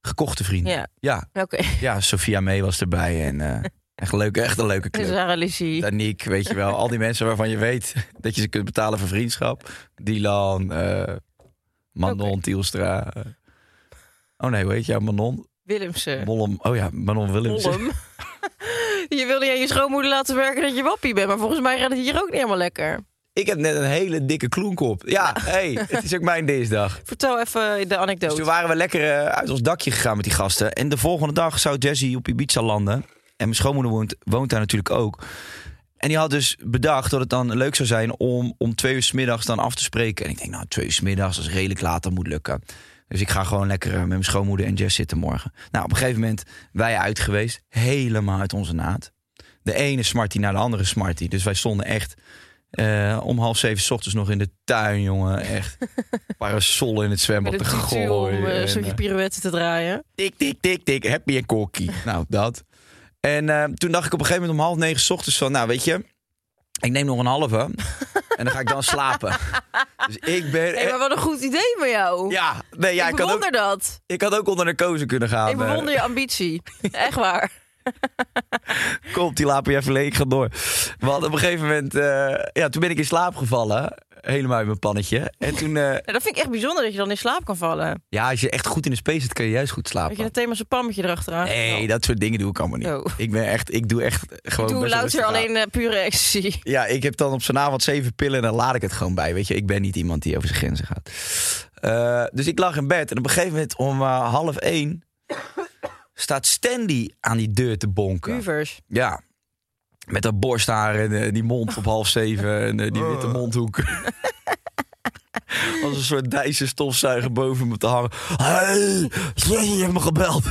Speaker 1: Gekochte vrienden.
Speaker 5: Ja. Oké,
Speaker 1: ja,
Speaker 5: okay.
Speaker 1: ja, Sophia mee was erbij en eh, echt, leuk, echt een leuke club.
Speaker 5: Sarah Lizzie.
Speaker 1: Danique, weet je wel. Al die mensen waarvan je weet dat je ze kunt betalen voor vriendschap. Dylan, eh, Manon,
Speaker 5: Oké.
Speaker 1: Tielstra. eh. oh nee, weet je, ja, Manon.
Speaker 5: Willemsen.
Speaker 1: Mollem, oh ja, Manon Willems.
Speaker 5: Mollem. je wilde je aan je schoonmoeder laten werken dat je wappie bent, maar volgens mij gaat het hier ook niet helemaal lekker.
Speaker 1: Ik heb net een hele dikke kloenkop. Ja, hey, het is ook mijn dinsdag.
Speaker 5: Vertel even de
Speaker 1: Dus
Speaker 5: anekdote.
Speaker 1: toen waren we lekker eh, uit ons dakje gegaan met die gasten. En de volgende dag zou Jesse op Ibiza landen. En mijn schoonmoeder woont, woont daar natuurlijk ook. En die had dus bedacht dat het dan leuk zou zijn om om twee uur 's middags dan af te spreken. En ik denk, nou, twee uur 's middags, dat is redelijk laat, dat moet lukken. Dus ik ga gewoon lekker eh, met mijn schoonmoeder en Jess zitten morgen. Nou, op een gegeven moment, wij uit geweest, helemaal uit onze naad. De ene smartie naar de andere smartie. Dus wij stonden echt eh, om half zeven 's ochtends nog in de tuin, jongen. Echt parasolen in het zwembad
Speaker 5: met
Speaker 1: te
Speaker 5: een tutu om
Speaker 1: gooien.
Speaker 5: eh,
Speaker 1: en,
Speaker 5: een stukje
Speaker 1: eh,
Speaker 5: pirouetten te draaien.
Speaker 1: tik, tik, tik, tik, happy en kokkie. nou, dat. En eh, toen dacht ik op een gegeven moment om half negen 's ochtends van, nou weet je, ik neem nog een halve en dan ga ik dan slapen. dus ik ben...
Speaker 5: Hé, maar wat een goed idee van jou.
Speaker 1: ja, nee, ja,
Speaker 5: ik
Speaker 1: ik, had
Speaker 5: bewonder
Speaker 1: ook,
Speaker 5: dat.
Speaker 1: ik had ook onder narcose kunnen gaan.
Speaker 5: Ik bewonder je ambitie. Echt waar.
Speaker 1: Eh, Kom, die lapen je even leeg, ik ga door. Want op een gegeven moment, eh, ja, toen ben ik in slaap gevallen. Helemaal uit mijn pannetje. En toen, eh,
Speaker 5: Ja, dat vind ik echt bijzonder dat je dan in slaap kan vallen.
Speaker 1: ja, als je echt goed in de space zit, kan je juist goed slapen.
Speaker 5: Dat je het thema zijn pammetje erachteraan.
Speaker 1: Nee, dat soort dingen doe ik allemaal niet.
Speaker 5: Oh.
Speaker 1: Ik ben echt, ik doe echt gewoon.
Speaker 5: Doe
Speaker 1: best wel rustig
Speaker 5: louter
Speaker 1: aan.
Speaker 5: alleen eh, pure ecstasy.
Speaker 1: Ja, ik heb dan op zijn avond zeven pillen en dan laat ik het gewoon bij. Weet je, ik ben niet iemand die over zijn grenzen gaat. Eh, dus ik lag in bed en op een gegeven moment om eh, half één staat Stanley aan die deur te bonken.
Speaker 5: Huvers.
Speaker 1: Ja. Met dat borsthaar en eh, die mond op half zeven en eh, die witte
Speaker 5: Oh.
Speaker 1: mondhoek. Als een soort Dijse stofzuiger boven me te hangen. Hey, je hebt me gebeld.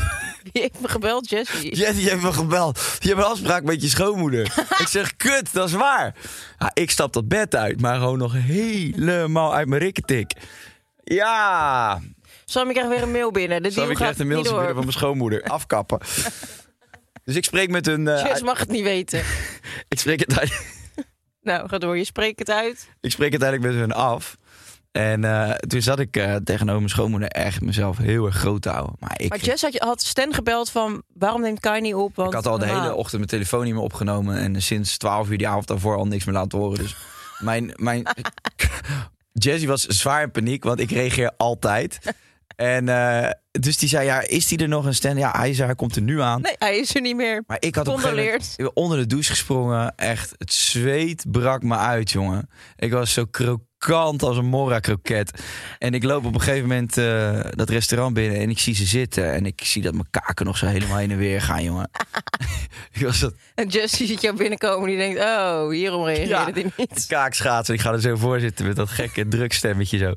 Speaker 5: Die heeft me gebeld, Jessie.
Speaker 1: Jetty heeft me gebeld. Je hebt een afspraak met je schoonmoeder. ik zeg, kut, dat is waar. Ja, ik stap dat bed uit, maar gewoon nog helemaal uit mijn rikketik. Ja.
Speaker 5: Sam, ik krijg weer een mail binnen. De
Speaker 1: Zo,
Speaker 5: deal
Speaker 1: ik
Speaker 5: gaat
Speaker 1: krijg een
Speaker 5: niet
Speaker 1: mailtje
Speaker 5: door.
Speaker 1: binnen van mijn schoonmoeder. Afkappen. dus ik spreek met een... eh,
Speaker 5: Jess mag het niet weten.
Speaker 1: ik, spreek het uit,
Speaker 5: Nou, ga door. Je spreekt het uit.
Speaker 1: ik spreek het eigenlijk met hun af. En eh, toen zat ik eh, tegenover mijn schoonmoeder echt mezelf heel erg groot te houden. Maar ik,
Speaker 5: Maar Jess had, je- had Stan gebeld van... waarom neemt Kai niet op? Want
Speaker 1: ik had al de
Speaker 5: normaal.
Speaker 1: hele ochtend mijn telefoon niet meer opgenomen. En sinds 12 uur die avond daarvoor al niks meer laten horen. Dus mijn, mijn Jesse was zwaar in paniek, want ik reageer altijd. En eh, dus die zei, ja, is die er nog een stand? Ja, hij, zei, hij komt er nu aan.
Speaker 5: Nee, hij is er niet meer.
Speaker 1: Maar ik had op een gegeven moment-
Speaker 5: Condoleert.
Speaker 1: ik ben onder de douche gesprongen. Echt, het zweet brak me uit, jongen. Ik was zo krokant als een morra-kroket. En ik loop op een gegeven moment eh, dat restaurant binnen en ik zie ze zitten. En ik zie dat mijn kaken nog zo helemaal heen en weer gaan, jongen. ik was dat
Speaker 5: En Jess die ziet jou binnenkomen die denkt... oh, hierom reageerde hij niet.
Speaker 1: kaakschaatsen. Ik ga er zo voor zitten met dat gekke drukstemmetje zo.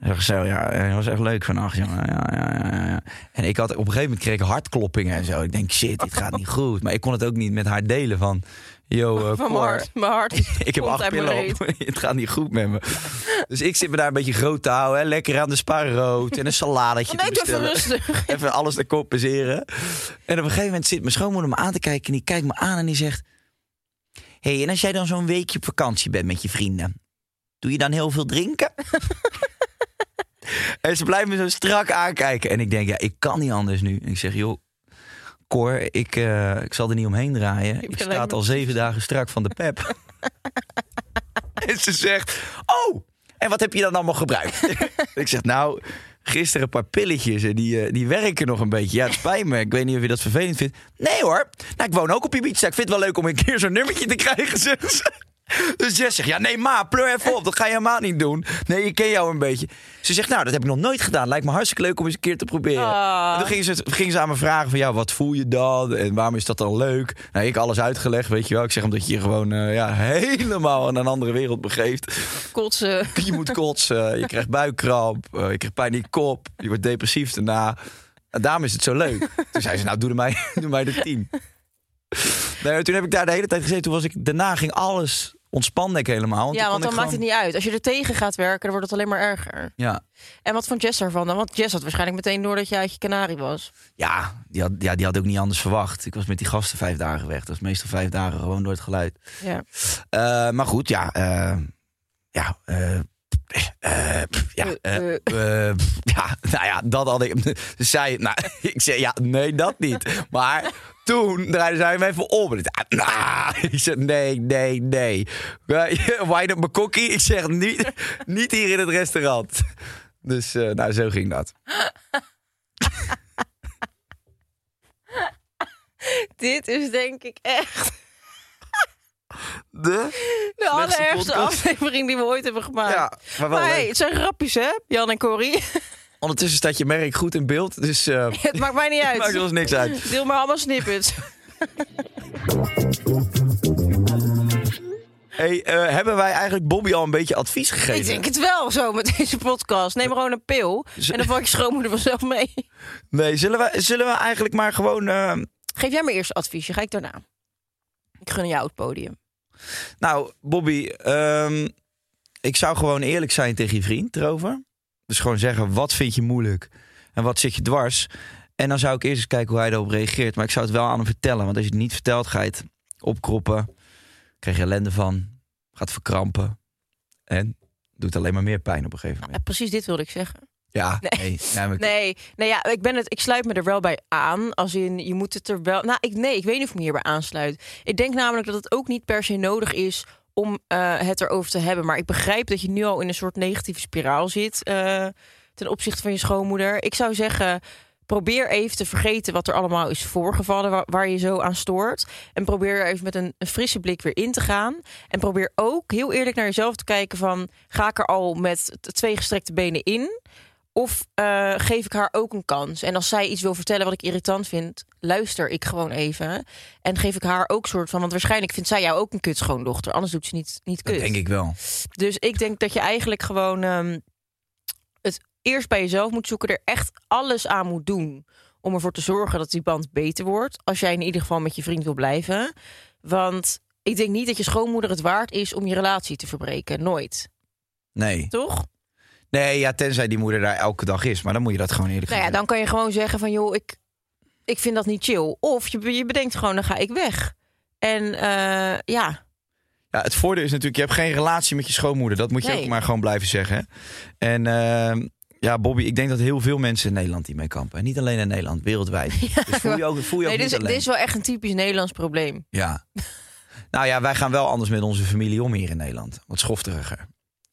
Speaker 1: En ik zo, ja, het was echt leuk vannacht, jongen. Ja, ja, ja, ja. En ik had op een gegeven moment kreeg ik hartkloppingen en zo. Ik denk, shit, dit gaat niet goed. Maar ik kon het ook niet met haar delen van... Yo,
Speaker 5: Van
Speaker 1: eh, Cor,
Speaker 5: mijn hart. Mijn hart.
Speaker 1: ik heb
Speaker 5: komt
Speaker 1: acht
Speaker 5: uit mijn
Speaker 1: pillen
Speaker 5: reet.
Speaker 1: op. Het gaat niet goed met me. Dus ik zit me daar een beetje groot te houden. Hè. Lekker aan de spa rood en een saladetje
Speaker 5: Nee,
Speaker 1: te
Speaker 5: doe even
Speaker 1: bestellen.
Speaker 5: rustig.
Speaker 1: Even alles te compenseren. En op een gegeven moment zit mijn schoonmoeder me aan te kijken. En die kijkt me aan en die zegt... hey, en als jij dan zo'n weekje op vakantie bent met je vrienden... doe je dan heel veel drinken? en ze blijft me zo strak aankijken. En ik denk, ja, ik kan niet anders nu. En ik zeg, joh... Cor, ik, eh, ik zal er niet omheen draaien. Ik,
Speaker 5: ben alleen
Speaker 1: sta
Speaker 5: maar-
Speaker 1: al zeven dagen strak van de pep. en ze zegt, oh, en wat heb je dan allemaal gebruikt? ik zeg, nou, gisteren een paar pilletjes en die, eh, die werken nog een beetje. Ja, het spijt me. Ik weet niet of je dat vervelend vindt. Nee hoor, nou, ik woon ook op Ibiza. Ik vind het wel leuk om een keer zo'n nummertje te krijgen, zegt ze. Dus Jess zegt, ja nee ma, pleur even op, dat ga je helemaal niet doen. Nee, ik ken jou een beetje. Ze zegt, nou, dat heb ik nog nooit gedaan. Lijkt me hartstikke leuk om eens een keer te proberen.
Speaker 5: Ah.
Speaker 1: En toen ging ze, ging ze aan me vragen van, ja, wat voel je dan? En waarom is dat dan leuk? Nou, ik alles uitgelegd, weet je wel. Ik zeg, omdat je je gewoon eh, ja, helemaal aan een andere wereld begeeft.
Speaker 5: Kotsen.
Speaker 1: Je moet kotsen, je krijgt buikkramp, eh, je krijgt pijn in je kop, je wordt depressief daarna. En daarom is het zo leuk. Toen zei ze, nou doe er mij, doe mij de tien. Nee, toen heb ik daar de hele tijd gezeten. Toen was ik, daarna ging alles, ontspande ik helemaal.
Speaker 5: Ja, want dan maakt het niet uit. Als je er tegen gaat werken, dan wordt het alleen maar erger.
Speaker 1: niet... Ja,
Speaker 5: En wat vond Jess daarvan dan? Want Jess had waarschijnlijk meteen door dat je uit je kanarie was.
Speaker 1: ja, die had, ja, die had ook niet anders verwacht. Ik was met die gasten vijf dagen weg. Dat is meestal vijf dagen gewoon door het geluid.
Speaker 5: Ja.
Speaker 1: Eh, maar goed, ja. eh, ja, eh, eh, pff, ja, eh, eh, pff, ja, nou ja, dat had ik. Ze zei, nou, ik zei, ja, nee, dat niet. Maar toen draaide zij hem even om. En ik dacht, ah, ik zeg, nee, nee, nee. Eh, Wine op mijn kokkie. Ik zeg, niet, niet hier in het restaurant. Dus, eh, nou, zo ging dat.
Speaker 5: Dit is denk ik echt
Speaker 1: De?
Speaker 5: de allerergste
Speaker 1: podcast.
Speaker 5: aflevering die we ooit hebben gemaakt.
Speaker 1: Ja, maar wel
Speaker 5: hey,
Speaker 1: leuk.
Speaker 5: het zijn grapjes hè, Jan en Corrie.
Speaker 1: Ondertussen staat je merk goed in beeld. Dus, eh
Speaker 5: het maakt mij niet uit.
Speaker 1: maakt ons niks uit.
Speaker 5: Deel maar allemaal snippets.
Speaker 1: Hey, eh, hebben wij eigenlijk Bobby al een beetje advies gegeven?
Speaker 5: Ik denk het wel zo met deze podcast. Neem gewoon een pil en dan val je schoonmoeder vanzelf mee.
Speaker 1: Nee, zullen we, zullen we eigenlijk maar gewoon... eh,
Speaker 5: Geef jij me eerst adviesje, ga ik daarna. Ik gun jou het podium.
Speaker 1: nou, Bobby, ehm, ik zou gewoon eerlijk zijn tegen je vriend erover. Dus gewoon zeggen, wat vind je moeilijk? En wat zit je dwars? En dan zou ik eerst eens kijken hoe hij daarop reageert. Maar ik zou het wel aan hem vertellen. Want als je het niet vertelt, ga je het opkroppen. Krijg je ellende van. Gaat verkrampen. En doet alleen maar meer pijn op een gegeven
Speaker 5: Ja,
Speaker 1: moment.
Speaker 5: precies dit wilde ik zeggen.
Speaker 1: Ja, nee.
Speaker 5: Nee.
Speaker 1: nee, maar ik-
Speaker 5: Nee, nee ja, ik, ben het, ik sluit me er wel bij aan. Als in, je moet het er wel... Nou, ik, nee, ik weet niet of ik me hierbij aansluit. Ik denk namelijk dat het ook niet per se nodig is om eh, het erover te hebben. Maar ik begrijp dat je nu al in een soort negatieve spiraal zit... eh, ten opzichte van je schoonmoeder. Ik zou zeggen, probeer even te vergeten wat er allemaal is voorgevallen... wa- waar je zo aan stoort. En probeer er even met een, een frisse blik weer in te gaan. En probeer ook heel eerlijk naar jezelf te kijken van... ga ik er al met t- twee gestrekte benen in... Of eh, geef ik haar ook een kans? En als zij iets wil vertellen wat ik irritant vind, luister ik gewoon even. En geef ik haar ook soort van. Want waarschijnlijk vindt zij jou ook een kut schoondochter. Anders doet ze niet, niet
Speaker 1: dat
Speaker 5: kut.
Speaker 1: denk ik wel.
Speaker 5: Dus ik denk dat je eigenlijk gewoon ehm, het eerst bij jezelf moet zoeken. Er echt alles aan moet doen. Om ervoor te zorgen dat die band beter wordt. Als jij in ieder geval met je vriend wil blijven. Want ik denk niet dat je schoonmoeder het waard is om je relatie te verbreken. Nooit.
Speaker 1: Nee.
Speaker 5: Toch?
Speaker 1: Nee, ja, tenzij die moeder daar elke dag is. Maar dan moet je dat gewoon eerlijk
Speaker 5: Nou ja,
Speaker 1: gaan
Speaker 5: dan kan je gewoon zeggen van joh, ik, ik vind dat niet chill. Of je, je bedenkt gewoon, dan ga ik weg. En eh, ja,
Speaker 1: Ja, het voordeel is natuurlijk, je hebt geen relatie met je schoonmoeder. Dat moet je
Speaker 5: Nee.
Speaker 1: ook maar gewoon blijven zeggen. hè. En ehm, ja, Bobby, ik denk dat heel veel mensen in Nederland hiermee kampen. En niet alleen in Nederland, wereldwijd. Dus voel je ook, voel je
Speaker 5: nee, dit,
Speaker 1: ook niet
Speaker 5: is, dit
Speaker 1: alleen.
Speaker 5: is wel echt een typisch Nederlands probleem.
Speaker 1: Ja. nou ja, wij gaan wel anders met onze familie om hier in Nederland. Wat schofteriger.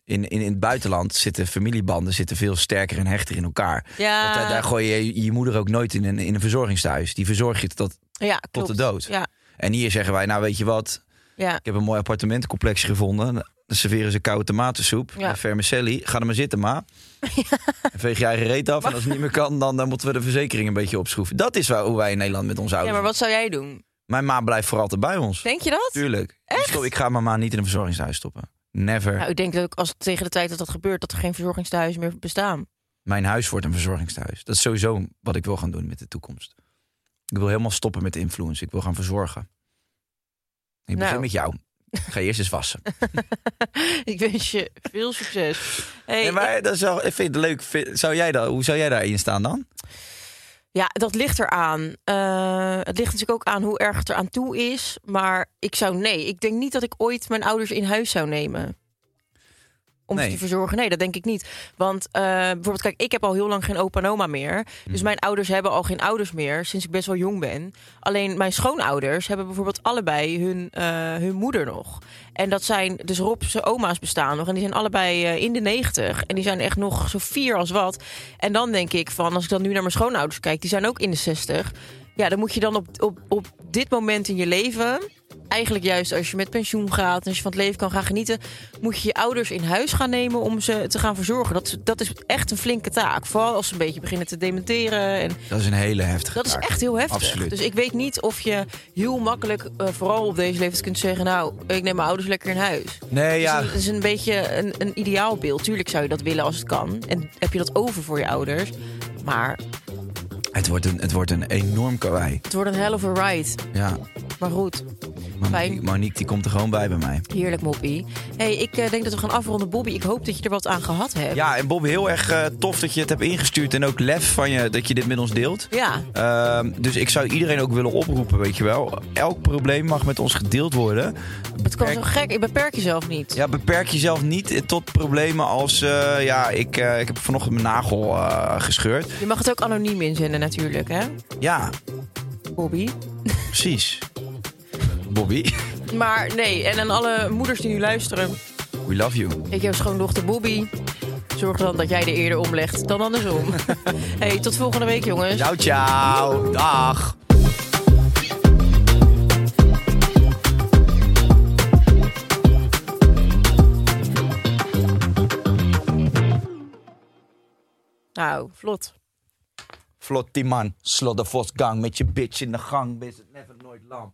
Speaker 1: In, in, in het buitenland zitten familiebanden zitten veel sterker en hechter in elkaar.
Speaker 5: Ja,
Speaker 1: Want daar,
Speaker 5: Eh,
Speaker 1: daar gooi je je moeder ook nooit in een, in een verzorgingstehuis. Die verzorg je tot...
Speaker 5: ja klopt.
Speaker 1: de dood.
Speaker 5: Ja,
Speaker 1: En hier zeggen wij, nou weet je wat,
Speaker 5: ja.
Speaker 1: Ik heb een mooi appartementencomplex gevonden. Dan serveren ze koude tomatensoep.
Speaker 5: Ja.
Speaker 1: Ja. Vermicelli. Ga er maar zitten, ma. En Veeg je eigen reet af. En als het niet meer kan, dan, dan moeten we de verzekering een beetje opschroeven. Dat is wel hoe wij in Nederland met onze
Speaker 5: ja,
Speaker 1: ouders.
Speaker 5: maar wat zou jij doen?
Speaker 1: Mijn ma blijft voor altijd bij ons.
Speaker 5: Denk je dat?
Speaker 1: Tuurlijk.
Speaker 5: Echt?
Speaker 1: Stop, ik ga mijn ma niet in een verzorgingshuis stoppen. Never.
Speaker 5: Nou, ik denk dat ook als tegen de tijd dat dat gebeurt, dat er geen verzorgingstehuizen meer bestaan.
Speaker 1: Mijn huis wordt een verzorgingstehuis. Dat is sowieso wat ik wil gaan doen met de toekomst. Ik wil helemaal stoppen met influence. Ik wil gaan verzorgen. Ik begin
Speaker 5: Nou.
Speaker 1: met jou. Ik ga eerst eens wassen.
Speaker 5: ik wens je veel succes. Hey,
Speaker 1: Nee, maar dat is wel, ik vind het leuk. Vind- Zou jij dat, hoe zou jij daarin staan dan?
Speaker 5: Ja, dat ligt eraan. Eh het ligt natuurlijk ook aan hoe erg het eraan toe is. Maar ik zou nee. Ik denk niet dat ik ooit mijn ouders in huis zou nemen. Om
Speaker 1: Nee.
Speaker 5: ze te verzorgen. Nee, dat denk ik niet. Want eh, bijvoorbeeld, kijk, ik heb al heel lang geen opa en oma meer. Dus mijn ouders hebben al geen ouders meer sinds ik best wel jong ben. Alleen mijn schoonouders hebben bijvoorbeeld allebei hun, eh, hun moeder nog. En dat zijn, dus Rob's oma's bestaan nog. En die zijn allebei eh, in de negentig. En die zijn echt nog zo fier als wat. En dan denk ik van, als ik dan nu naar mijn schoonouders kijk, die zijn ook in de zestig. Ja, dan moet je dan op, op, op dit moment in je leven. Eigenlijk juist als je met pensioen gaat en als je van het leven kan gaan genieten, moet je je ouders in huis gaan nemen om ze te gaan verzorgen. Dat, is- dat is echt een flinke taak. Vooral als ze een beetje beginnen te dementeren en
Speaker 1: Dat is een hele heftige
Speaker 5: dat is
Speaker 1: taak.
Speaker 5: echt heel heftig.
Speaker 1: Absoluut.
Speaker 5: Dus ik weet niet of je heel makkelijk, eh, vooral op deze leeftijd, kunt zeggen: Nou, ik neem mijn ouders lekker in huis.
Speaker 1: nee, ja.
Speaker 5: Dus het is een beetje een, een ideaalbeeld. Tuurlijk zou je dat willen als het kan. En heb je dat over voor je ouders. Maar
Speaker 1: het Het wordt een, het wordt een enorm kawaii.
Speaker 5: Het wordt een hell of a ride.
Speaker 1: Ja,
Speaker 5: Maar goed,
Speaker 1: maar
Speaker 5: Fijn.
Speaker 1: Monique, Monique, die komt er gewoon bij bij mij.
Speaker 5: heerlijk moppie. hey, ik eh, denk dat we gaan afronden. Bobby, ik hoop dat je er wat aan gehad hebt.
Speaker 1: Ja, en Bob, heel erg eh, tof dat je het hebt ingestuurd. En ook lef van je dat je dit met ons deelt.
Speaker 5: Ja.
Speaker 1: Ehm, dus ik zou iedereen ook willen oproepen, weet je wel. Elk probleem mag met ons gedeeld worden.
Speaker 5: Het kan
Speaker 1: Kijk.
Speaker 5: zo gek. Ik beperk jezelf niet.
Speaker 1: Ja, beperk jezelf niet tot problemen als... eh, ja, ik, eh, ik heb vanochtend mijn nagel eh, gescheurd.
Speaker 5: Je mag het ook anoniem inzenden natuurlijk, hè,
Speaker 1: Ja,
Speaker 5: Bobby?
Speaker 1: precies. Bobby,
Speaker 5: Maar nee, en aan alle moeders die nu luisteren.
Speaker 1: we love you.
Speaker 5: Ik heb schoondochter Bobby. Zorg dan dat jij er eerder omlegt dan andersom. hey, tot volgende week, jongens.
Speaker 1: Ciao, ciao. Dag.
Speaker 5: Nou, vlot.
Speaker 1: Vlot die man. Slot de vosgang met je bitch in de gang. Wees het never nooit lam.